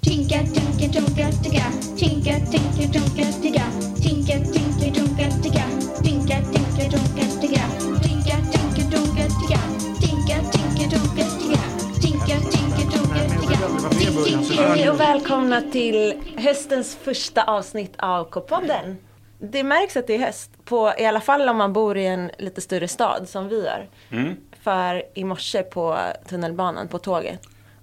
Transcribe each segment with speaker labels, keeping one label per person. Speaker 1: Tinka, tinka, tunka, ticka. Tinka, tinka, tunka, ticka. Tinka, tinka, tunka, ticka. Tinka, tinka, tunka, ticka. Tinka, tinka, tunka, ticka. Tinka, tinka, tunka, ticka. Tinka, tinka, tunka, ticka. Tinka, tinka,
Speaker 2: Hej
Speaker 1: tunka,
Speaker 2: och välkomna till höstens första avsnitt av K-podden. Det märks att det är höst, på, i alla fall om man bor i en lite större stad som vi gör. För i morse på tunnelbanan, på tåget.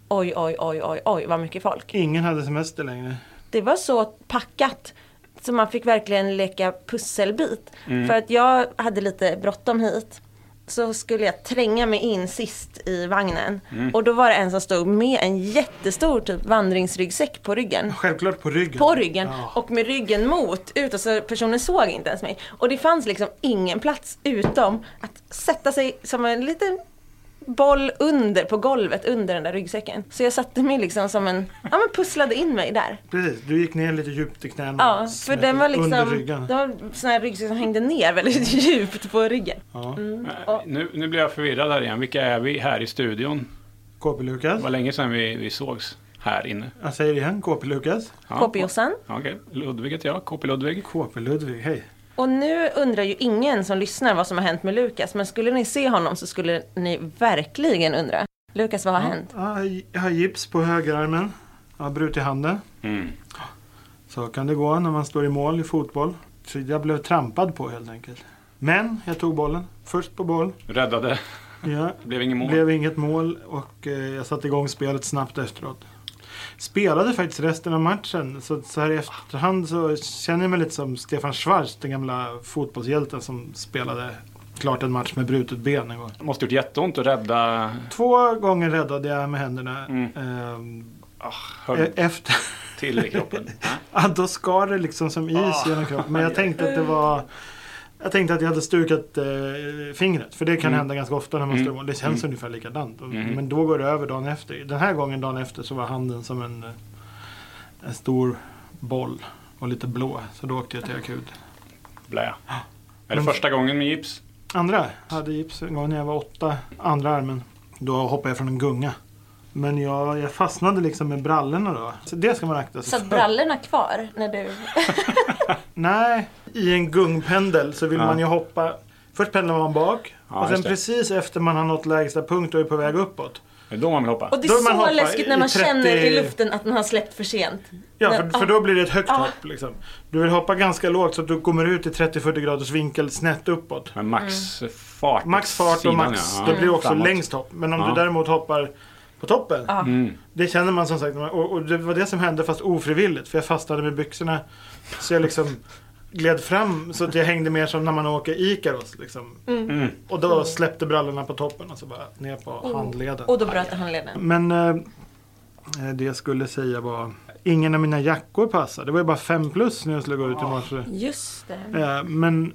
Speaker 2: Oj, oj, oj, oj, oj, vad mycket folk.
Speaker 3: Ingen hade semester längre.
Speaker 2: Det var så packat. Så man fick verkligen leka pusselbit. För att jag hade lite bråttom hit. Så skulle jag tränga mig in sist i vagnen. Och då var det en som stod med en jättestor typ vandringsryggsäck på ryggen.
Speaker 3: Självklart på ryggen.
Speaker 2: På ryggen
Speaker 3: Ja.
Speaker 2: och med ryggen mot utåt så personen såg inte ens mig. Och det fanns liksom ingen plats utom att sätta sig som en liten boll under på golvet under den där ryggsäcken. Så jag satte mig liksom som en, ja men pusslade in mig där.
Speaker 3: Precis, du gick ner lite djupt i knäna.
Speaker 2: Ja, för
Speaker 3: Snett
Speaker 2: den var liksom,
Speaker 3: Under ryggen.
Speaker 2: det var sån här ryggsäck som hängde ner väldigt djupt på ryggen.
Speaker 3: Ja.
Speaker 2: Ja.
Speaker 4: Nu, nu blir jag förvirrad här igen. Vilka är vi här i studion? Det
Speaker 3: KP-Lukas.
Speaker 4: var länge sedan vi, vi sågs här inne.
Speaker 3: Jag säger det igen, KP-Lukas.
Speaker 4: Ja.
Speaker 2: KP-Jossan.
Speaker 4: Ja, Okej, Ludvig heter jag. KP Ludvig.
Speaker 3: KP-Ludvig, hej.
Speaker 2: Och nu undrar ju ingen som lyssnar vad som har hänt med Lukas, men skulle ni se honom så skulle ni verkligen undra. Lukas, vad har hänt?
Speaker 3: Ja, jag har gips på högerarmen. Jag har brutit handen.
Speaker 4: Mm.
Speaker 3: Så kan det gå när man står i mål i fotboll. Så jag blev trampad på helt enkelt. Men jag tog bollen. Först på boll.
Speaker 4: Räddade.
Speaker 3: Ja,
Speaker 4: Det blev ingen mål.
Speaker 3: blev inget mål och eh, jag satte igång spelet snabbt efteråt. Spelade faktiskt resten av matchen, så, så här i efterhand så känner jag mig lite som Stefan Schwarz, den gamla fotbollshjälten som spelade klart en match med brutet ben en gång.
Speaker 4: Måste gjort jätteont att rädda...
Speaker 3: Två gånger räddade jag med händerna.
Speaker 4: Mm.
Speaker 3: ehm,
Speaker 4: Ah, Höll
Speaker 3: e- efter,
Speaker 4: till i kroppen. Ja.
Speaker 3: ja, då skar det liksom som is
Speaker 4: Ah.
Speaker 3: genom kroppen. Men jag tänkte att det var... Jag tänkte att jag hade stukat eh, fingret, för det kan
Speaker 4: Mm.
Speaker 3: hända ganska ofta när man
Speaker 4: Mm.
Speaker 3: står i mål. Det känns ungefär likadant. Och,
Speaker 4: Mm.
Speaker 3: Men då går det över dagen efter. Den här gången dagen efter så var handen som en, eh, en stor boll och lite blå. Så då åkte jag till akut.
Speaker 4: Blä. Är det
Speaker 3: Men-
Speaker 4: första gången med gips?
Speaker 3: Andra hade gips en gång när jag var åtta. Andra armen. Då hoppade jag från en gunga. Men jag, jag fastnade liksom med brallorna då. Så det ska man akta sig
Speaker 2: Satt brallorna kvar när du...
Speaker 3: Nej, i en gungpendel så vill
Speaker 4: Ja.
Speaker 3: man ju hoppa. Först pendlar man bak
Speaker 4: Ja,
Speaker 3: och sen
Speaker 4: just det.
Speaker 3: precis efter man har nått lägsta punkt och är på väg uppåt.
Speaker 4: Det är då man vill hoppa.
Speaker 2: Och det är
Speaker 3: Då man
Speaker 2: så
Speaker 3: hoppar
Speaker 2: läskigt när
Speaker 3: i
Speaker 2: man
Speaker 3: 30
Speaker 2: känner i luften att man har släppt för sent.
Speaker 3: Ja,
Speaker 2: Men-
Speaker 3: för, för då blir det ett högt
Speaker 2: Ah.
Speaker 3: hopp. Liksom. Du vill hoppa ganska lågt så att du kommer ut i 30-40 graders vinkel snett uppåt.
Speaker 4: Med max
Speaker 2: Mm.
Speaker 4: fart. åt
Speaker 3: Max fart och
Speaker 4: sidan,
Speaker 3: max,
Speaker 4: ja.
Speaker 3: det blir också
Speaker 4: Framåt.
Speaker 3: längst hopp. Men om
Speaker 4: Ja.
Speaker 3: du däremot hoppar på toppen,
Speaker 2: Ja.
Speaker 4: Mm.
Speaker 3: det känner man som sagt. Och, och det var det som hände fast ofrivilligt. För jag fastnade med byxorna så jag liksom gled fram så att jag hängde mer som när man åker Ikaros. Liksom.
Speaker 4: Mm.
Speaker 3: Och då släppte brallorna på toppen och så bara ner på handleden.
Speaker 2: Oh. Och då bröt handleden.
Speaker 3: Men eh, det jag skulle säga var ingen av mina jackor passade. Det var ju bara fem plus när jag skulle gå ut i morse.
Speaker 2: Just det.
Speaker 3: Eh, men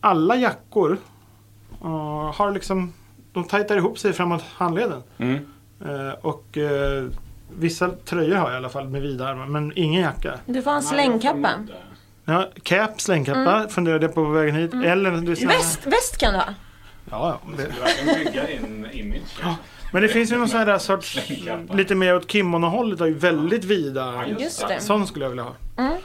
Speaker 3: alla jackor eh, har liksom, de tajtar ihop sig framåt handleden.
Speaker 4: Mm.
Speaker 3: Eh, och eh, vissa tröjor har jag i alla fall med vida armar, men ingen jacka.
Speaker 2: Du får ha en slängkappa.
Speaker 3: Ja, cap, slängkappa funderade jag på på vägen hit. Eller du ser-
Speaker 2: Mm. Väst, väst kan du ha.
Speaker 3: Ja, ja. Det.
Speaker 4: Du verkligen bygga din image.
Speaker 3: Men det finns ju någon sån här sorts,
Speaker 4: Slängkappa.
Speaker 3: lite mer åt kimonohållet, har ju väldigt vida.
Speaker 4: Ja,
Speaker 2: Just det.
Speaker 3: Sån skulle jag vilja ha.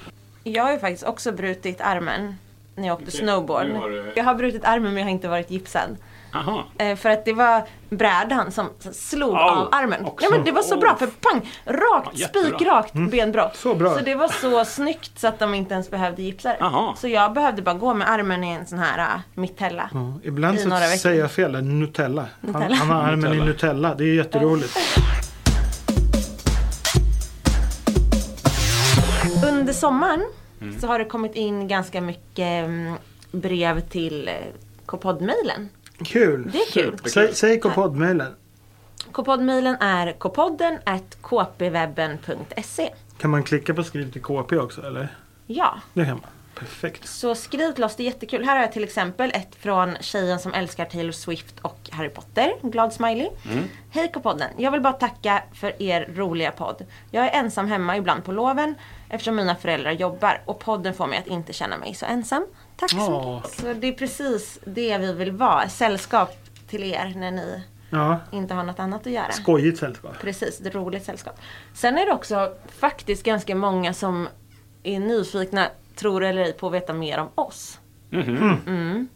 Speaker 2: Jag har ju faktiskt också brutit armen när jag åkte
Speaker 4: Okej,
Speaker 2: snowboard.
Speaker 4: nu har du-
Speaker 2: Jag har brutit armen men jag har inte varit gipsad.
Speaker 4: Aha.
Speaker 2: Eh, För att det var brädan som slog
Speaker 4: Au,
Speaker 2: av armen.
Speaker 4: också.
Speaker 2: Ja, men det var så
Speaker 4: Oh.
Speaker 2: bra för pang! Rakt,
Speaker 4: Ja, jättebra. Mm.
Speaker 2: spikrakt benbrott.
Speaker 3: Så bra.
Speaker 2: det var så snyggt så att de inte ens behövde gipsa det.
Speaker 4: Aha.
Speaker 2: Så jag behövde bara gå med armen i en sån här äh, mitthälla.
Speaker 3: Ja, ibland
Speaker 2: I
Speaker 3: så
Speaker 2: några veckor.
Speaker 3: säger jag fel. där. Nutella. Han,
Speaker 2: Nutella.
Speaker 3: han har armen
Speaker 4: Nutella.
Speaker 3: i Nutella. Det är jätteroligt.
Speaker 2: Under sommaren så har det kommit in ganska mycket mm, brev till eh, K-podd-mailen.
Speaker 3: Kul.
Speaker 2: Det är kul.
Speaker 3: Säg, säg K-poddmailen.
Speaker 2: K-podd-mailen är kpodden at kpwebben.se.
Speaker 3: Kan man klicka på skriv till KP också eller?
Speaker 2: Ja,
Speaker 3: Det kan man. Perfekt.
Speaker 2: så skriv till oss, det är jättekul. Här har jag till exempel ett från tjejen som älskar Taylor Swift och Harry Potter. Glad smiley. Hej K-podden. Jag vill bara tacka för er roliga podd. Jag är ensam hemma ibland på loven eftersom mina föräldrar jobbar och podden får mig att inte känna mig så ensam. Tack så
Speaker 3: Åh.
Speaker 2: mycket. Så det är precis det vi vill vara. Sällskap till er när ni
Speaker 3: Ja.
Speaker 2: inte har något annat att göra.
Speaker 3: Skojigt sällskap.
Speaker 2: Precis, ett roligt sällskap. Sen är det också faktiskt ganska många som är nyfikna, tror eller ej, på att veta mer om oss.
Speaker 3: Mm.
Speaker 4: Mhm.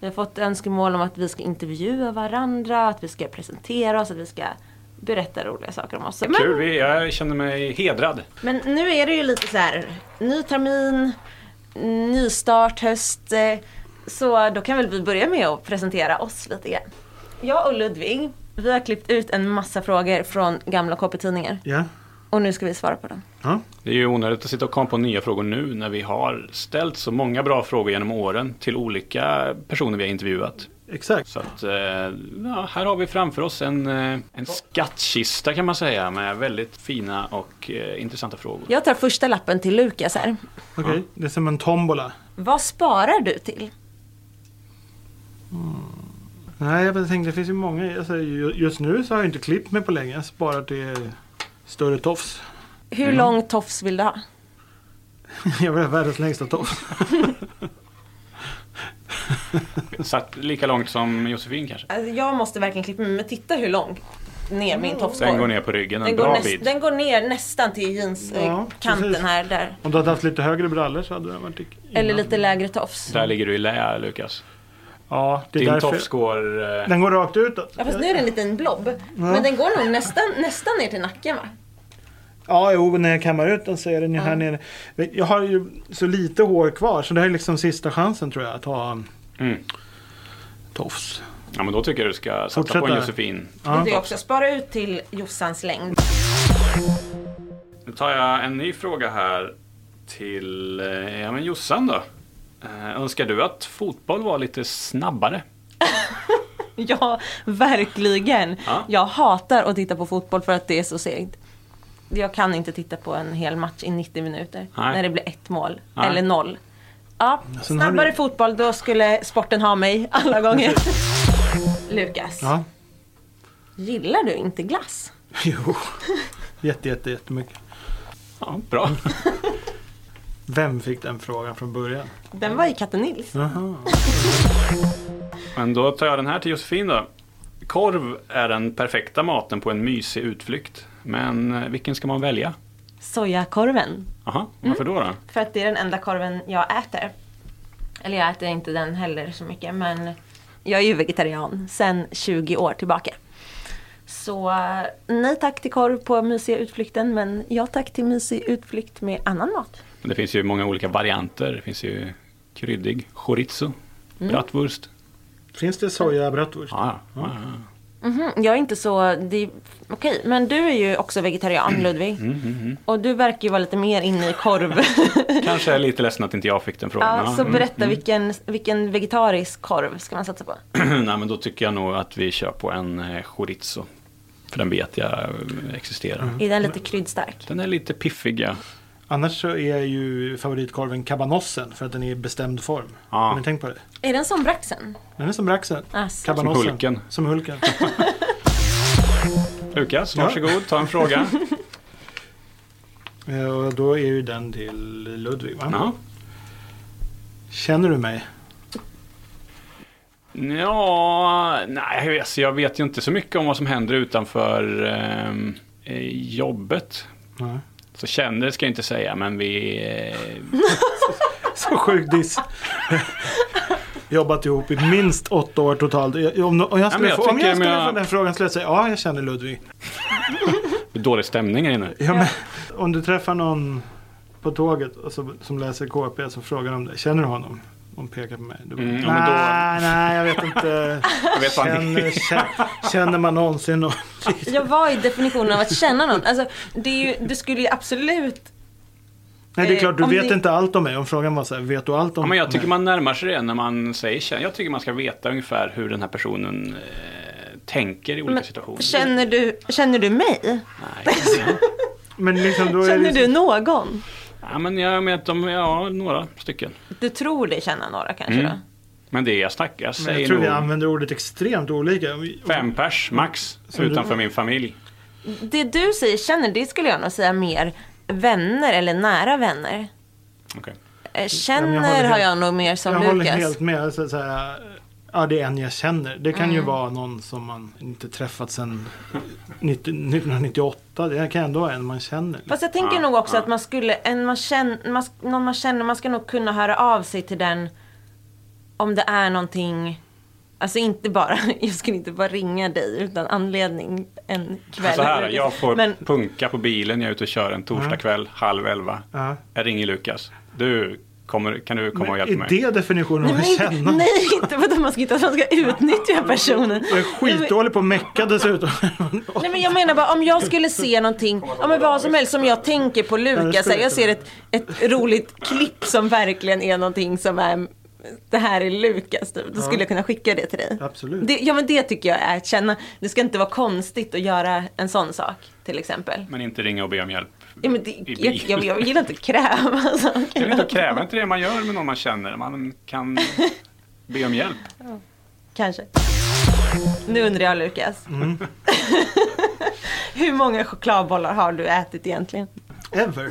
Speaker 2: Vi har fått önskemål om att vi ska intervjua varandra, att vi ska presentera oss, att vi ska berätta roliga saker om oss.
Speaker 4: Kul,
Speaker 2: Men,
Speaker 4: vi, jag känner mig hedrad.
Speaker 2: men nu är det ju lite så här, ny termin, ny start, höst. eh, Så då kan väl vi börja med att presentera oss lite grann. Jag och Ludvig, vi har klippt ut en massa frågor från gamla KP-tidningar.
Speaker 3: Ja.
Speaker 2: Och nu ska vi svara på dem.
Speaker 3: ja.
Speaker 4: Det är ju onödigt att sitta och komma på nya frågor nu när vi har ställt så många bra frågor genom åren till olika personer vi har intervjuat.
Speaker 3: Exakt.
Speaker 4: Så att, eh, ja, här har vi framför oss en, eh, en skattkista kan man säga med väldigt fina och eh, intressanta frågor.
Speaker 2: Jag tar första lappen till Lukas här.
Speaker 3: Okej, det är som en tombola.
Speaker 2: Vad sparar du till?
Speaker 3: Nej, jag bara tänkte det finns ju många. Alltså, ju- just nu så har jag inte klippt mig på länge. Jag sparar till större tofs.
Speaker 2: Hur
Speaker 4: Mm.
Speaker 2: lång tofs vill du ha?
Speaker 3: Jag vill ha världens längsta tofs.
Speaker 4: Satt lika långt som Josefin kanske.
Speaker 2: Alltså, jag måste verkligen klippa mig, men titta hur lång ner min tofs
Speaker 4: Mm. Den går ner på ryggen en
Speaker 2: Den går,
Speaker 4: bra
Speaker 2: näst-
Speaker 4: bit.
Speaker 2: den går ner nästan till
Speaker 3: Ja,
Speaker 2: jeanskanten
Speaker 3: precis.
Speaker 2: här. Där.
Speaker 3: Om du hade haft lite högre brallor så hade den varit i-
Speaker 2: Eller lite lägre tofs.
Speaker 4: Där ligger du i lä Lukas.
Speaker 3: Ja, det är
Speaker 4: Din
Speaker 3: därför.
Speaker 4: tofs går... eh,
Speaker 3: Den går rakt utåt.
Speaker 2: Ja, fast nu är det en liten blob. Men den går nog nästan, nästan ner till nacken va?
Speaker 3: Ja, jo, när jag kammar ut den så är den ju här nere. Jag har ju så lite hår kvar så det här är liksom sista chansen tror jag att ha en
Speaker 4: Mm.
Speaker 3: tofs.
Speaker 4: Ja men då tycker jag du ska satsa på en
Speaker 3: Fortsätta.
Speaker 4: Josefin.
Speaker 2: Ja, det är också. Spara ut till Jossans längd.
Speaker 4: Nu tar jag en ny fråga här till eh, ja, men Jossan då. Eh, Önskar du att fotboll var lite snabbare?
Speaker 2: Ja, verkligen.
Speaker 4: Ja.
Speaker 2: Jag hatar att titta på fotboll för att det är så segt. Jag kan inte titta på en hel match i 90 minuter
Speaker 4: Nej.
Speaker 2: när det blir ett mål
Speaker 4: Nej.
Speaker 2: eller noll. Ja,
Speaker 3: Sen har
Speaker 2: snabbare
Speaker 3: du-
Speaker 2: fotboll, då skulle sporten ha mig alla gånger. Lukas,
Speaker 3: Ja,
Speaker 2: gillar du inte glass?
Speaker 3: jo. Jätte, jätte, jättemycket.
Speaker 4: Ja, bra.
Speaker 3: Vem fick den frågan från början?
Speaker 2: Den var i Katte Nils.
Speaker 3: Jaha.
Speaker 4: Men då tar jag den här till Josefin då. Korv är den perfekta maten på en mysig utflykt. Men eh, vilken ska man välja?
Speaker 2: Sojakorven.
Speaker 4: Aha, varför
Speaker 2: Mm.
Speaker 4: då? då?
Speaker 2: För att det är den enda korven jag äter. Eller jag äter inte den heller så mycket men jag är ju vegetarian sedan 20 år tillbaka. Så eh, nej tack till korv på mysiga utflykten men ja tack till mysig utflykt med annan mat.
Speaker 4: Men Det finns ju många olika varianter. Det finns ju kryddig, chorizo,
Speaker 2: Mm.
Speaker 4: bratwurst.
Speaker 3: Finns det sojabratwurst?
Speaker 4: Ja, ja, ja, ja.
Speaker 2: Mhm, jag är inte så, det, okej men du är ju också vegetarian
Speaker 4: Mm.
Speaker 2: Ludvig. Och du verkar ju vara lite mer inne i korv.
Speaker 4: Kanske är jag lite ledsen att inte jag fick den frågan.
Speaker 2: ja,
Speaker 4: Ja,
Speaker 2: så
Speaker 4: mm.
Speaker 2: berätta vilken, vilken vegetarisk korv ska man satsa på?
Speaker 4: Nej, men då tycker jag nog att vi kör på en eh, chorizo. För den vet jag eh, existerar.
Speaker 2: Är den lite kryddstark?
Speaker 4: Den är lite piffig, ja.
Speaker 3: Annars så är ju favoritkorven kabanossen för att den är i bestämd form.
Speaker 4: Ja.
Speaker 3: Har ni tänkt på det?
Speaker 2: Är den som braxen?
Speaker 3: Den är som braxen.
Speaker 2: Alltså.
Speaker 3: Kabanossen. Som
Speaker 4: Som Hulken.
Speaker 3: Hulken.
Speaker 4: Lukas,
Speaker 3: Ja.
Speaker 4: varsågod, ta en fråga.
Speaker 3: Eh, Och då är ju den till Ludvig va?
Speaker 4: Ja.
Speaker 3: Känner du mig?
Speaker 4: Ja, nej, alltså jag vet ju inte så mycket om vad som händer utanför ehm, eh, jobbet.
Speaker 3: Nej.
Speaker 4: Så känner ska jag inte säga, men vi... Eh,
Speaker 3: Så sjuk diss. Jobbat ihop i minst åtta år totalt. Jag- Om, om jag skulle,
Speaker 4: jag
Speaker 3: få, om
Speaker 4: tycker
Speaker 3: jag skulle
Speaker 4: jag-
Speaker 3: få den frågan skulle jag säga ja, jag känner Ludvig.
Speaker 4: dålig stämning här inne.
Speaker 3: Ja, men, om du träffar någon på tåget och så, som läser KP så frågar de dig, känner du honom? De pekar på mig. Du bara,
Speaker 4: Mm, ja, men då-
Speaker 3: nej, nej, jag vet inte.
Speaker 4: Jag vet fan
Speaker 3: Känner, känner, känner man någonsin någon?
Speaker 2: Jag var i definitionen av att känna någon. Alltså, det är ju, du skulle ju absolut...
Speaker 3: Nej, det är
Speaker 2: Eh,
Speaker 3: klart, du
Speaker 2: om
Speaker 3: vet
Speaker 2: ni-
Speaker 3: inte allt om mig. Om frågan var så här, vet du allt om
Speaker 4: Ja, men jag tycker
Speaker 3: mig?
Speaker 4: man närmar sig det när man säger känn. Jag tycker man ska veta ungefär hur den här personen eh, tänker i olika
Speaker 2: Men
Speaker 4: situationer.
Speaker 2: Känner du, känner du mig?
Speaker 4: Nej.
Speaker 3: Men liksom, då är det,
Speaker 2: Känner du
Speaker 3: liksom-
Speaker 2: någon?
Speaker 4: Ja, men jag vet om, ja, några stycken.
Speaker 2: Du tror dig känna några kanske
Speaker 4: Mm.
Speaker 2: då?
Speaker 4: Men det är jag snackar, jag
Speaker 3: Men jag
Speaker 4: säger
Speaker 3: tror vi
Speaker 4: nog
Speaker 3: använder ordet extremt olika.
Speaker 4: fem pers max
Speaker 3: du-
Speaker 4: utanför min familj.
Speaker 2: Det du säger känner, det skulle jag nog säga mer vänner eller nära vänner.
Speaker 4: Okej.
Speaker 2: Eh,
Speaker 3: men jag
Speaker 2: Känner
Speaker 3: håller
Speaker 2: har
Speaker 3: helt-
Speaker 2: jag nog mer som
Speaker 3: jag håller
Speaker 2: Lukas.
Speaker 3: helt med. Så, så här, Ja, det är en jag känner. Det kan ju
Speaker 2: Mm.
Speaker 3: vara någon som man inte träffat sedan 90 1998. Det kan ändå vara en man känner.
Speaker 2: Fast jag tänker
Speaker 4: Ja,
Speaker 2: nog också
Speaker 4: ja.
Speaker 2: att man skulle, en man känner, man, sk- någon man känner, man ska nog kunna höra av sig till den om det är någonting, alltså inte bara, jag skulle inte bara ringa dig utan anledning en kväll.
Speaker 4: Så här, jag får
Speaker 2: Men
Speaker 4: punka på bilen, jag är ute och kör en torsdagkväll halv elva.
Speaker 3: Ja.
Speaker 4: Jag ringer Lukas. Du, kommer, kan du komma och hjälpa
Speaker 3: är
Speaker 4: mig?
Speaker 3: det definitionen av att
Speaker 2: nej, men inte,
Speaker 3: känna?
Speaker 2: nej, inte för att man ska, inte att man ska utnyttja personen.
Speaker 3: Jag är skitdålig på att mecka dessutom.
Speaker 2: Nej men jag menar bara om jag skulle se någonting, ja men vad som helst som jag tänker på Lukas, här, jag ser ett, ett roligt klipp som verkligen är någonting som är det här är Lukas typ. Då skulle jag kunna skicka det till dig.
Speaker 3: Absolut.
Speaker 2: Det, ja men det tycker jag är att känna, det ska inte vara konstigt att göra en sån sak till exempel.
Speaker 4: Men inte ringa och be om hjälp.
Speaker 2: Ja, men det,
Speaker 4: I
Speaker 2: jag,
Speaker 4: bil.
Speaker 2: jag, jag gillar inte att kräva saker.
Speaker 4: Jag vet inte, kräver inte det man gör med någon man känner. Man kan be om hjälp.
Speaker 2: Kanske. Nu undrar jag Lukas. Hur många chokladbollar har du ätit egentligen?
Speaker 3: Ever.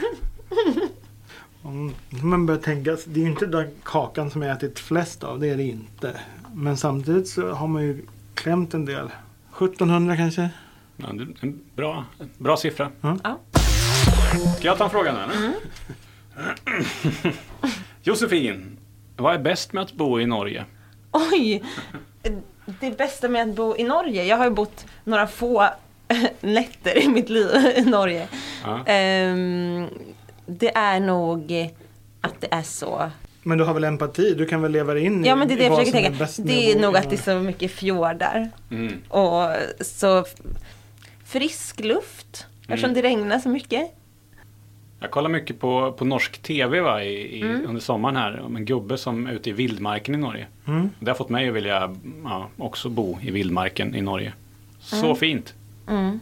Speaker 3: Om man börjar tänka, det är ju inte den kakan som jag ätit flest av, det är det inte. Men samtidigt så har man ju klämt en del. 1700 kanske?
Speaker 4: Ja, det- en bra, en bra siffra.
Speaker 3: Ja.
Speaker 2: Ja. Mm.
Speaker 4: Ska jag ta en fråga nu? eller? Josefin, vad är bäst med att bo i Norge?
Speaker 2: Oj! Det bästa med att bo i Norge, jag har ju bott några få nätter i mitt liv i Norge.
Speaker 4: Ja.
Speaker 2: Ehm, det är nog att det är så.
Speaker 3: Men du har väl empati? Du kan väl leva dig in i
Speaker 2: Ja men det är det jag
Speaker 3: vad
Speaker 2: försöker
Speaker 3: som är
Speaker 2: tänka.
Speaker 3: bäst med
Speaker 2: Det är
Speaker 3: bo i
Speaker 2: nog att det är
Speaker 3: Norge.
Speaker 2: så mycket fjordar.
Speaker 4: Mm.
Speaker 2: Och så f- frisk luft.
Speaker 3: Mm.
Speaker 2: Eftersom det regnar så mycket.
Speaker 4: Jag kollar mycket på, på norsk tv va, i, i,
Speaker 2: Mm.
Speaker 4: under sommaren här om en gubbe som är ute i vildmarken i Norge.
Speaker 3: Mm.
Speaker 4: Det har fått mig att vilja ja, också bo i vildmarken i Norge. Så fint!
Speaker 2: Mm.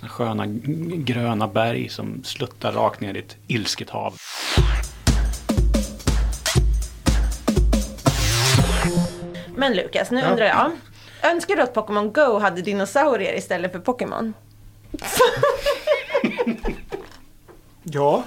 Speaker 4: Såna Sköna g- gröna berg som sluttar rakt ner i ett ilsket hav.
Speaker 2: Men Lukas, nu
Speaker 3: Ja.
Speaker 2: undrar jag. Önskar du att Pokémon Go hade dinosaurier istället för Pokémon?
Speaker 3: Ja.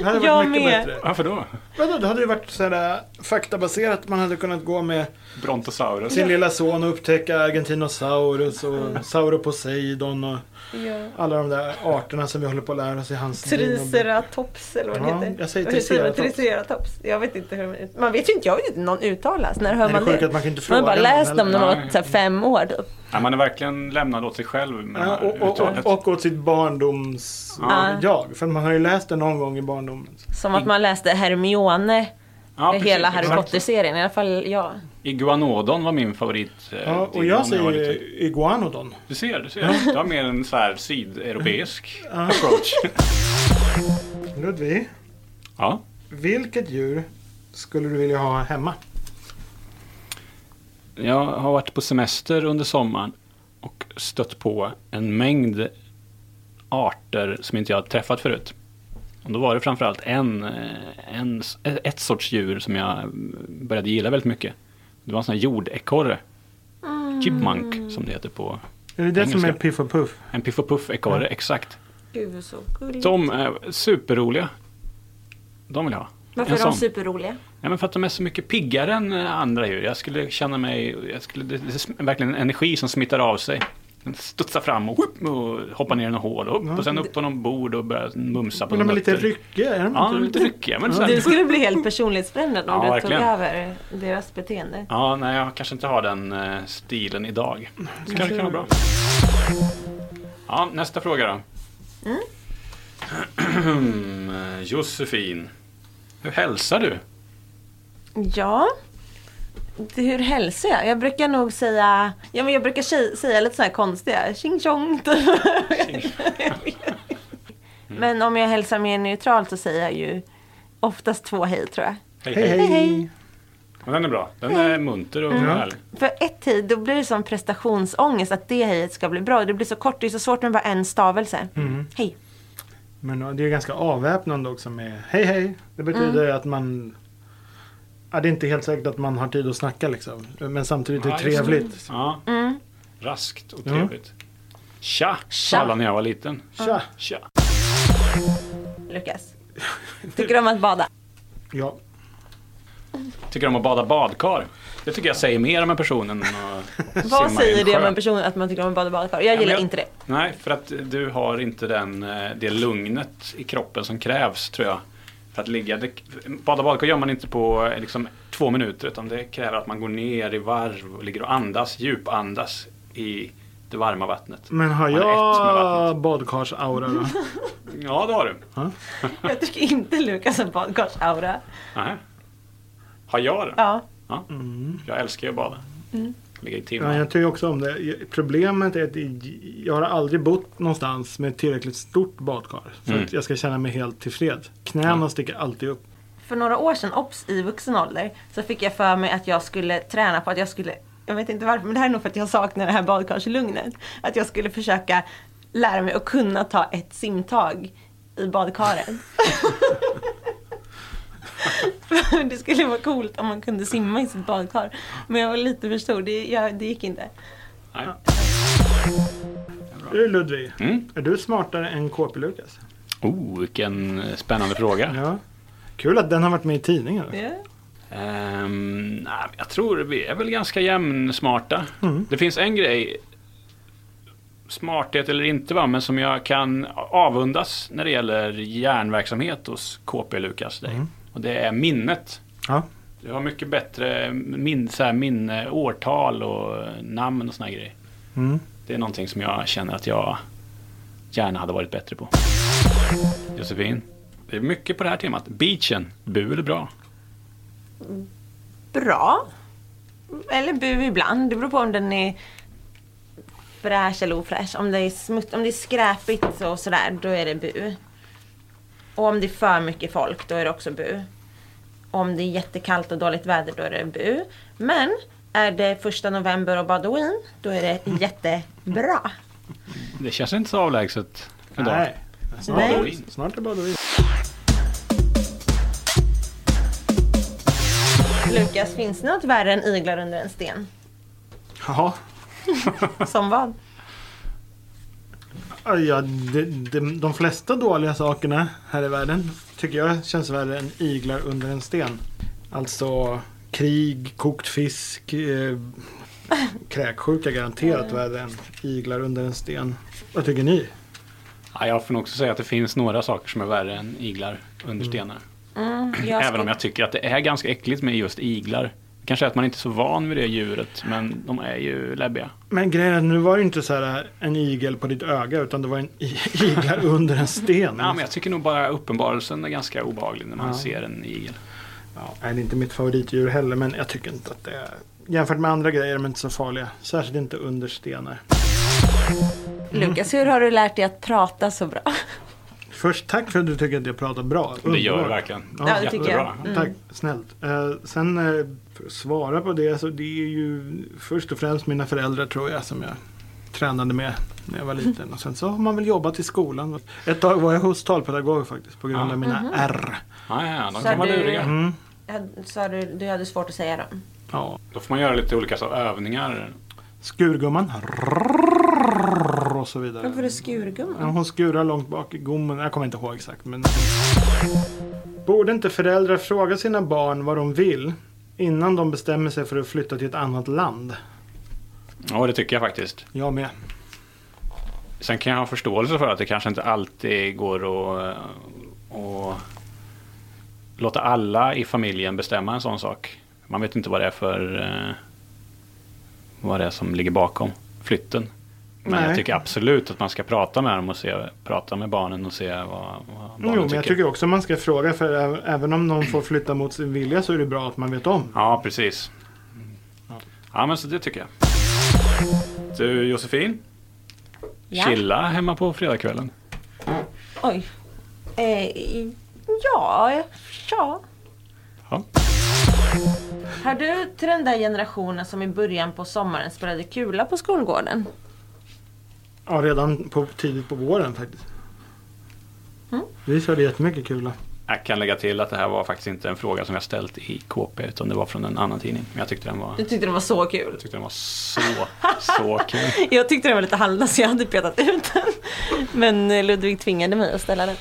Speaker 3: Det hade varit
Speaker 2: Jag
Speaker 3: mycket
Speaker 2: med.
Speaker 3: bättre.
Speaker 4: Varför då?
Speaker 3: Vadå, det hade ju varit sådär faktabaserat. Man hade kunnat gå med
Speaker 4: Brontosaurus.
Speaker 3: sin lilla son och upptäcka Argentinosaurus
Speaker 2: Mm.
Speaker 3: och Sauroposeidon och
Speaker 2: Ja.
Speaker 3: alla de där arterna som vi håller på att lära oss i hans
Speaker 2: Triceratops eller vad den
Speaker 3: Ja,
Speaker 2: heter.
Speaker 3: jag säger
Speaker 2: Vad heter den?
Speaker 3: triceratops.
Speaker 2: triceratops. Jag vet inte hur man- Man vet ju inte, jag vet inte hur någon uttalas. När hör
Speaker 3: Nej, det
Speaker 2: man
Speaker 3: är sjukt
Speaker 2: det?
Speaker 3: att man kan inte
Speaker 2: Man har
Speaker 3: fråga
Speaker 2: bara
Speaker 3: någon
Speaker 2: läst
Speaker 3: heller.
Speaker 2: om den och
Speaker 4: Nej.
Speaker 2: varit så här fem år typ.
Speaker 4: Ja, man är verkligen lämnad åt sig själv med
Speaker 3: Ja,
Speaker 4: det här
Speaker 3: och, och,
Speaker 4: uttalet.
Speaker 3: och, och åt sitt barndoms...
Speaker 2: Ja.
Speaker 3: Jag. För man har ju läst det någon gång i barndomen.
Speaker 2: Som att man läste Hermione
Speaker 4: Ja, precis,
Speaker 2: hela Harry
Speaker 4: exakt.
Speaker 2: Potter-serien. I alla fall jag.
Speaker 4: Iguanodon var min favorit. eh,
Speaker 3: Ja, och
Speaker 4: till
Speaker 3: jag
Speaker 4: när var
Speaker 3: säger
Speaker 4: liten.
Speaker 3: ju iguanodon.
Speaker 4: Du ser, du ser. Du har mer en så här sydeuropeisk
Speaker 3: Ja.
Speaker 4: approach.
Speaker 3: Ludvig,
Speaker 4: Ja.
Speaker 3: vilket djur skulle du vilja ha hemma?
Speaker 4: Jag har varit på semester under sommaren och stött på en mängd arter som inte jag har träffat förut. Och då var det framförallt en, eh, en, ett sorts djur som jag började gilla väldigt mycket. Det var en sån här jordekorre. Chipmunk som det heter på.
Speaker 3: Är det det som är
Speaker 4: Engelska.
Speaker 3: Piff och Puff?
Speaker 4: En piff och puff ekorre, exakt.
Speaker 2: Gud så gulligt.
Speaker 4: De är superroliga. De vill jag ha.
Speaker 2: Varför
Speaker 4: En
Speaker 2: är de
Speaker 4: sån.
Speaker 2: superroliga?
Speaker 4: Ja, men för att de är så mycket piggare än eh, andra djur. Jag skulle känna mig... Jag skulle, det, det är verkligen en energi som smittar av sig. Den studsar fram och, whoop, och hoppar ner i något hål. Och, upp, och sen upp på någon bord och börjar mumsa på
Speaker 3: Men de är
Speaker 4: några
Speaker 3: lite
Speaker 4: nötter.
Speaker 3: ryckiga, är de
Speaker 4: Ja, de är
Speaker 3: inte?
Speaker 4: lite ryckiga. Men så
Speaker 2: Du
Speaker 4: här,
Speaker 2: skulle bli helt personlighetsförändrad om
Speaker 4: Ja,
Speaker 2: du
Speaker 4: verkligen.
Speaker 2: tog över deras beteende.
Speaker 4: ja, nej, jag kanske inte har den eh, stilen idag. Det kanske kan vara bra. Ja, nästa fråga då. Mm. Josefin, hur hälsar du?
Speaker 2: Ja. Det- Hur hälsar jag? Jag brukar nog säga, ja men jag brukar tjej, säga lite så här konstiga, tjing tjong. typ. Men om jag hälsar mer neutralt så säger jag ju oftast två hej tror jag.
Speaker 3: Hej hej!
Speaker 2: hej.
Speaker 4: Men den är bra. Den är munter
Speaker 2: Mm.
Speaker 4: och härlig.
Speaker 2: För ett hej, då blir det som prestationsångest att det hejet ska bli bra. Det blir så kort, det är så svårt med bara en stavelse.
Speaker 4: Mm.
Speaker 2: Hej.
Speaker 3: Men det är ganska avväpnande också med hej hej. Det betyder
Speaker 4: Mm.
Speaker 3: att man... Ja, det är inte helt säkert att man har tid att snacka liksom. Men samtidigt är det
Speaker 4: Ja, just det.
Speaker 3: trevligt.
Speaker 4: Ja. Raskt och trevligt. Tja,
Speaker 2: Mm. Tja.
Speaker 4: sa alla när jag var liten.
Speaker 3: Tja!
Speaker 4: Tja.
Speaker 2: Lukas. Tycker du om att bada?
Speaker 3: Ja.
Speaker 4: Tycker om att bada badkar. Det tycker jag säger mer om en person än att simma i
Speaker 2: Vad
Speaker 4: en
Speaker 2: säger det om
Speaker 4: sjö.
Speaker 2: en person att man tycker om att bada badkar? Jag
Speaker 4: Ja,
Speaker 2: gillar
Speaker 4: men jag-
Speaker 2: inte det.
Speaker 4: Nej, för att du har inte den, eh, det lugnet i kroppen som krävs tror jag. För att ligga, det, bada badkar gör man inte på eh, liksom, två minuter utan det kräver att man går ner i varv och ligger och andas, djupandas i det varma vattnet.
Speaker 3: Men har
Speaker 4: Man är ett med
Speaker 3: jag
Speaker 4: vattnet.
Speaker 3: badkarsaura då?
Speaker 4: Ja, det har du.
Speaker 2: Jag tycker inte Lukas har badkarsaura.
Speaker 4: Nähä. Har jag det?
Speaker 2: Ja. Mm.
Speaker 4: Ja. Jag älskar ju att bada. Ligga i
Speaker 3: Mm. Ja,
Speaker 4: timmar.
Speaker 3: jag tycker också om det. Problemet är att jag har aldrig bott någonstans med tillräckligt stort badkar. Så
Speaker 4: Mm.
Speaker 3: att jag ska känna mig helt tillfreds. Knäna sticker alltid upp.
Speaker 2: För några år sedan, obs, i vuxen ålder, så fick jag för mig att jag skulle träna på att jag skulle, jag vet inte varför, men det här är nog för att jag saknar det här badkarslugnet. Att jag skulle försöka lära mig att kunna ta ett simtag i badkaret. För det skulle vara coolt om man kunde simma i sitt badkar. Men jag var lite för stor, det, jag, det gick inte.
Speaker 4: Nej.
Speaker 3: Du Ludvig,
Speaker 4: Mm.
Speaker 3: är du smartare än KP Lukas?
Speaker 4: Oh, vilken spännande fråga.
Speaker 3: Ja. Kul att den har varit med i tidningen.
Speaker 4: Ehm, nej, jag tror vi är väl ganska jämnsmarta. Det finns en grej, smarthet eller inte, va, men som jag kan avundas när det gäller hjärnverksamhet hos KP Lukas. Dig. Och det är minnet.
Speaker 3: Ja.
Speaker 4: Du har mycket bättre min, så här, minne, årtal och namn och såna här grejer.
Speaker 3: Mm.
Speaker 4: Det är någonting som jag känner att jag gärna hade varit bättre på. Josefin, det är mycket på det här temat. Beachen, bu eller bra?
Speaker 2: Bra. Eller bu ibland, det beror på om den är fräsch eller ofräsch. Om det är, smutt, om det är skräpigt och sådär, då är det bu. Och om det är för mycket folk, då är det också bu. Om det är jättekallt och dåligt väder, då är det bu. Men är det första november och badouin, då är det jättebra.
Speaker 4: Det känns inte så avlägset. idag.
Speaker 3: Nej. Snart,
Speaker 4: Nej.
Speaker 3: snart är det badvin.
Speaker 2: Lukas, finns det något värre än iglar under en sten?
Speaker 3: Ja.
Speaker 2: Som vad?
Speaker 3: Ja, de, de, de flesta dåliga sakerna här i världen tycker jag känns värre än iglar under en sten. Alltså krig, kokt fisk, eh, kräksjuka garanterat värre än iglar under en sten. Vad tycker ni?
Speaker 4: Ja, jag får nog också säga att det finns några saker som är värre än iglar under stenar.
Speaker 2: Mm, jag
Speaker 4: Även om jag tycker att det är ganska äckligt med just iglar. Kanske att man inte är så van vid det djuret, men de är ju läbbiga.
Speaker 3: Men grejen är, att nu var det inte så här äh, en igel på ditt öga utan det var en i- iglar under en sten.
Speaker 4: Ja, men jag tycker nog bara uppenbarelsen är ganska obehaglig när man ser en igel.
Speaker 3: Ja, nej, det är inte mitt favoritdjur heller men jag tycker inte att det är... Jämfört med andra grejer är de inte så farliga. Särskilt inte under stenar.
Speaker 2: Lukas, hur har du lärt dig att prata så bra?
Speaker 3: Först tack för att du tycker att jag pratar bra.
Speaker 4: Det gör det
Speaker 3: Underbart.
Speaker 4: verkligen.
Speaker 2: Ja, det tycker jag. Mm.
Speaker 4: Jättebra.
Speaker 3: Tack, snällt. Eh, sen eh, för att svara på det så det är ju först och främst mina föräldrar tror jag som jag tränade med när jag var liten. Och sen så har man väl jobbat i skolan. Ett tag var jag hos talpedagog faktiskt på grund
Speaker 4: Ah.
Speaker 3: av mina
Speaker 2: Mhm.
Speaker 3: R.
Speaker 4: Ja, ja, de
Speaker 2: Så
Speaker 4: kan vara
Speaker 2: du-
Speaker 4: luriga.
Speaker 3: Mm.
Speaker 2: Hade- Sa du, du hade svårt att säga dem?
Speaker 3: Ja.
Speaker 4: Då får man göra lite olika så, övningar.
Speaker 3: Skurgumman. Rrrr, Och så vidare.
Speaker 2: Varför är det
Speaker 3: Ja,
Speaker 2: skurgumma?
Speaker 3: Hon skurar långt bak i gommen. Jag kommer inte ihåg exakt. Men... Borde inte föräldrar fråga sina barn vad de vill innan de bestämmer sig för att flytta till ett annat land?
Speaker 4: Ja, det tycker jag faktiskt.
Speaker 3: Jag med.
Speaker 4: Sen kan jag ha förståelse för att det kanske inte alltid går att, eh, att låta alla i familjen bestämma en sån sak. Man vet inte vad det är för eh, vad det är som ligger bakom flytten. Men
Speaker 3: Nej.
Speaker 4: jag tycker absolut att man ska prata med dem och se, prata med barnen och se vad, vad barnen
Speaker 3: Jo, men
Speaker 4: tycker.
Speaker 3: jag tycker också man ska fråga för ä- även om någon får flytta mot sin vilja så är det bra att man vet om.
Speaker 4: Ja, precis. Ja, men så det tycker jag. Du Josefin,
Speaker 2: Ja.
Speaker 4: chilla hemma på fredagskvällen.
Speaker 2: Oj. Eh, ja, ja.
Speaker 4: Ja.
Speaker 2: Hör du till den där generationen som i början på sommaren spelade kula på skolgården?
Speaker 3: Ja, redan på, tidigt på våren faktiskt.
Speaker 2: Mm.
Speaker 3: Vi körde jättemycket kula.
Speaker 4: Jag kan lägga till att det här var faktiskt inte en fråga som jag ställt i KP utan det var från en annan tidning. Men jag tyckte den var,
Speaker 2: Du
Speaker 4: jag
Speaker 2: tyckte det var så kul.
Speaker 4: tyckte den var så, så kul.
Speaker 2: Jag tyckte det var lite halvdags så jag hade petat ut den. Men eh, Ludvig tvingade mig att ställa den.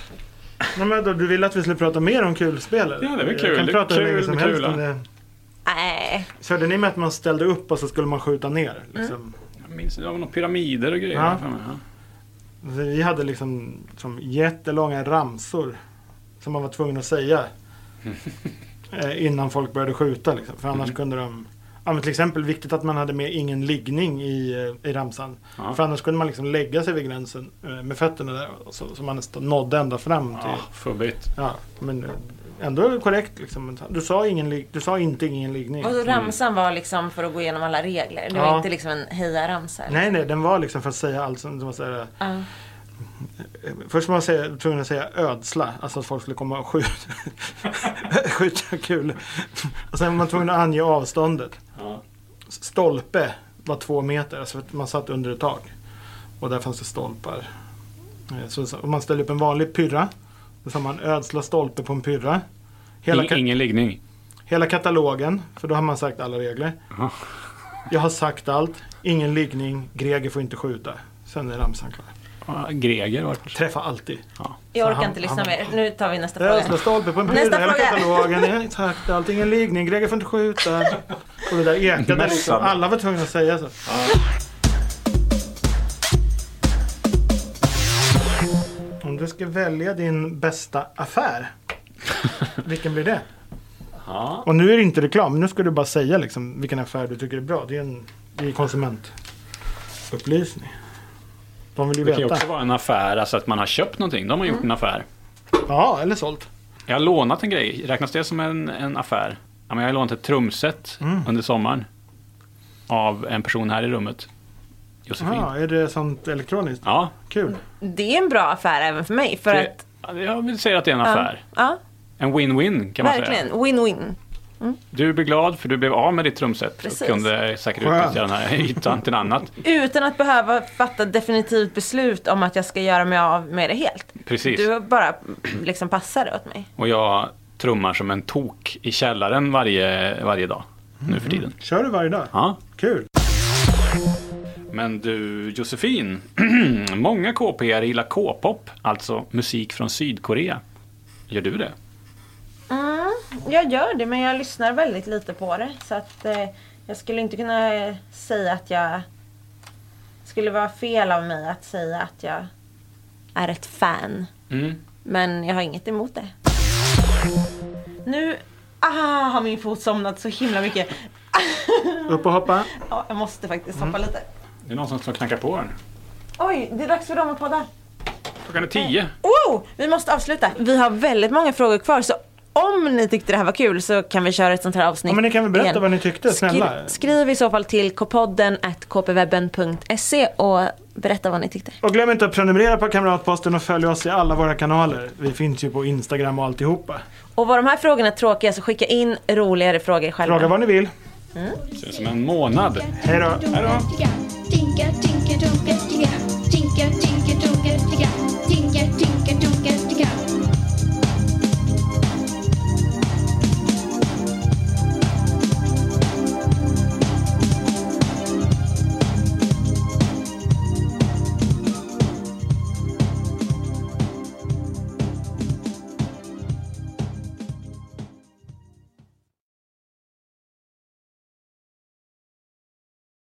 Speaker 3: Nej, men då, du ville att vi skulle prata mer om kulspel? eller?
Speaker 4: Ja, det är väl
Speaker 3: Jag
Speaker 4: kul.
Speaker 3: kan
Speaker 4: Det är
Speaker 3: prata hur
Speaker 4: kul
Speaker 3: länge som
Speaker 4: med
Speaker 3: helst
Speaker 4: kula.
Speaker 3: om det.
Speaker 2: Nej.
Speaker 3: Körde ni med att man ställde upp och så skulle man skjuta
Speaker 4: Mm.
Speaker 3: ner? Liksom?
Speaker 4: Jag minns det var några pyramider och grejer.
Speaker 3: Ja.
Speaker 4: För mig, ja.
Speaker 3: Så Vi hade liksom som jättelånga ramsor som man var tvungen att säga eh, innan folk började skjuta. Liksom. För
Speaker 4: Mm.
Speaker 3: annars kunde de... Ja, men till exempel viktigt att man hade med ingen liggning i, eh, i ramsan.
Speaker 4: Ja.
Speaker 3: För annars kunde man liksom lägga sig vid gränsen eh, med fötterna där och så, så man nästan nådde ända fram. Till,
Speaker 4: Ja,
Speaker 3: ja.
Speaker 4: fubbigt.
Speaker 3: men eh, ändå korrekt. Liksom. Men Du, sa ingen, lig- du sa inte ingen liggning.
Speaker 2: Och så ramsan var liksom för att gå igenom alla regler. Det
Speaker 3: Mm. Ja.
Speaker 2: var inte liksom en hejaramsa. eller?
Speaker 3: Nej, nej, den var liksom för att säga allt som... som var så här,
Speaker 2: Ja.
Speaker 3: Först var man säga, tvungen att säga ödsla, alltså att folk skulle komma och skjuta, skjuta kul. Och sen var man tvungen att ange avståndet.
Speaker 4: Ja.
Speaker 3: Stolpe var två meter, alltså att man satt under ett tak. Och där fanns det stolpar. Eh, Så, så- om man ställde upp en vanlig pyrra, då sa man ödsla stolpe på en pyrra. Hela, ka-
Speaker 4: In, ingen liggning.
Speaker 3: hela katalogen, för då har man sagt alla regler.
Speaker 4: Ja.
Speaker 3: Jag har sagt allt, ingen liggning, Greger får inte skjuta. Sen är ramsan klar.
Speaker 4: Ja, Greger var det.
Speaker 3: Träffa alltid.
Speaker 2: Jag
Speaker 3: Så
Speaker 2: orkar
Speaker 3: han-
Speaker 2: inte lyssna
Speaker 3: han-
Speaker 2: mer. Nu tar vi nästa
Speaker 3: Ödsla
Speaker 2: fråga.
Speaker 3: alltså stolpe på en
Speaker 2: Nästa
Speaker 3: pyrra, hela
Speaker 2: fråga.
Speaker 3: katalogen. Ja, Exakt, allting är en liggning. Greger får inte skjuta. Och det där ekade liksom.
Speaker 4: Nästan.
Speaker 3: Alla var tvungna att säga så. Om du ska välja din bästa affär, vilken blir det?
Speaker 4: Ja.
Speaker 3: Och nu är det inte reklam, nu ska du bara säga liksom vilken affär du tycker är bra. Det är en det är konsumentupplysning. De vill ju
Speaker 4: Det kan ju
Speaker 3: veta.
Speaker 4: också vara en affär, alltså att man har köpt någonting. Då har man gjort en affär.
Speaker 3: Ja, eller sålt.
Speaker 4: Jag har lånat en grej. Räknas det som en, en affär? Ja, men jag har lånat ett trumset
Speaker 3: Mm.
Speaker 4: under sommaren. Av en person här i rummet. Josefin.
Speaker 3: Ja, är det sånt elektroniskt?
Speaker 4: Ja,
Speaker 3: Kul.
Speaker 2: Det är en bra affär även för mig. För
Speaker 4: det,
Speaker 2: att...
Speaker 4: jag vill säga att det är en affär.
Speaker 2: Ja,
Speaker 4: En win-win kan man säga.
Speaker 2: verkligen. Win-win.
Speaker 4: Du blir glad för du blev av med ditt trumset
Speaker 2: Precis.
Speaker 4: och kunde säkert
Speaker 3: Skönt.
Speaker 4: utnyttja den här ytan till något annat.
Speaker 2: Utan att behöva fatta definitivt beslut om att jag ska göra mig av med det helt.
Speaker 4: Precis.
Speaker 2: Du bara liksom passar det åt mig.
Speaker 4: Och jag trummar som en tok i källaren varje, varje dag nu för tiden.
Speaker 3: Kör du varje dag?
Speaker 4: Ja.
Speaker 3: Kul.
Speaker 4: Men du Josefin, många KPR gillar K-pop, alltså musik från Sydkorea. Gör du det?
Speaker 2: Mm, jag gör det men jag lyssnar väldigt lite på det. Så att eh, jag skulle inte kunna eh, säga att jag... skulle vara fel av mig att säga att jag är ett fan.
Speaker 4: Mm.
Speaker 2: Men jag har inget emot det. Nu ah, har min fot somnat så himla mycket.
Speaker 3: Upp och hoppa.
Speaker 2: Ja, jag måste faktiskt hoppa lite.
Speaker 4: Det är någon som står och knackar på den.
Speaker 2: Oj, det är dags för dem att podda.
Speaker 4: Klockan är tio.
Speaker 2: Wow, Oh, vi måste avsluta. Vi har väldigt många frågor kvar så om ni tyckte det här var kul så kan vi köra ett sånt här avsnitt
Speaker 3: Ja, men ni kan väl berätta
Speaker 2: igen.
Speaker 3: vad ni tyckte, snälla.
Speaker 2: Skri- skriv i så fall till kpodden at kpwebben.se och berätta vad ni tyckte.
Speaker 3: Och glöm inte att prenumerera på Kamratposten och följ oss i alla våra kanaler. Vi finns ju på Instagram och alltihopa.
Speaker 2: Och var de här frågorna är tråkiga så skicka in roligare frågor själva.
Speaker 3: Fråga vad ni vill.
Speaker 4: Ser ut som en månad.
Speaker 3: Hej då.
Speaker 1: Tinka, tinka, dunka, tinka. Tinka, tinka, dunka, tinka. Tinka, tinka, dunka,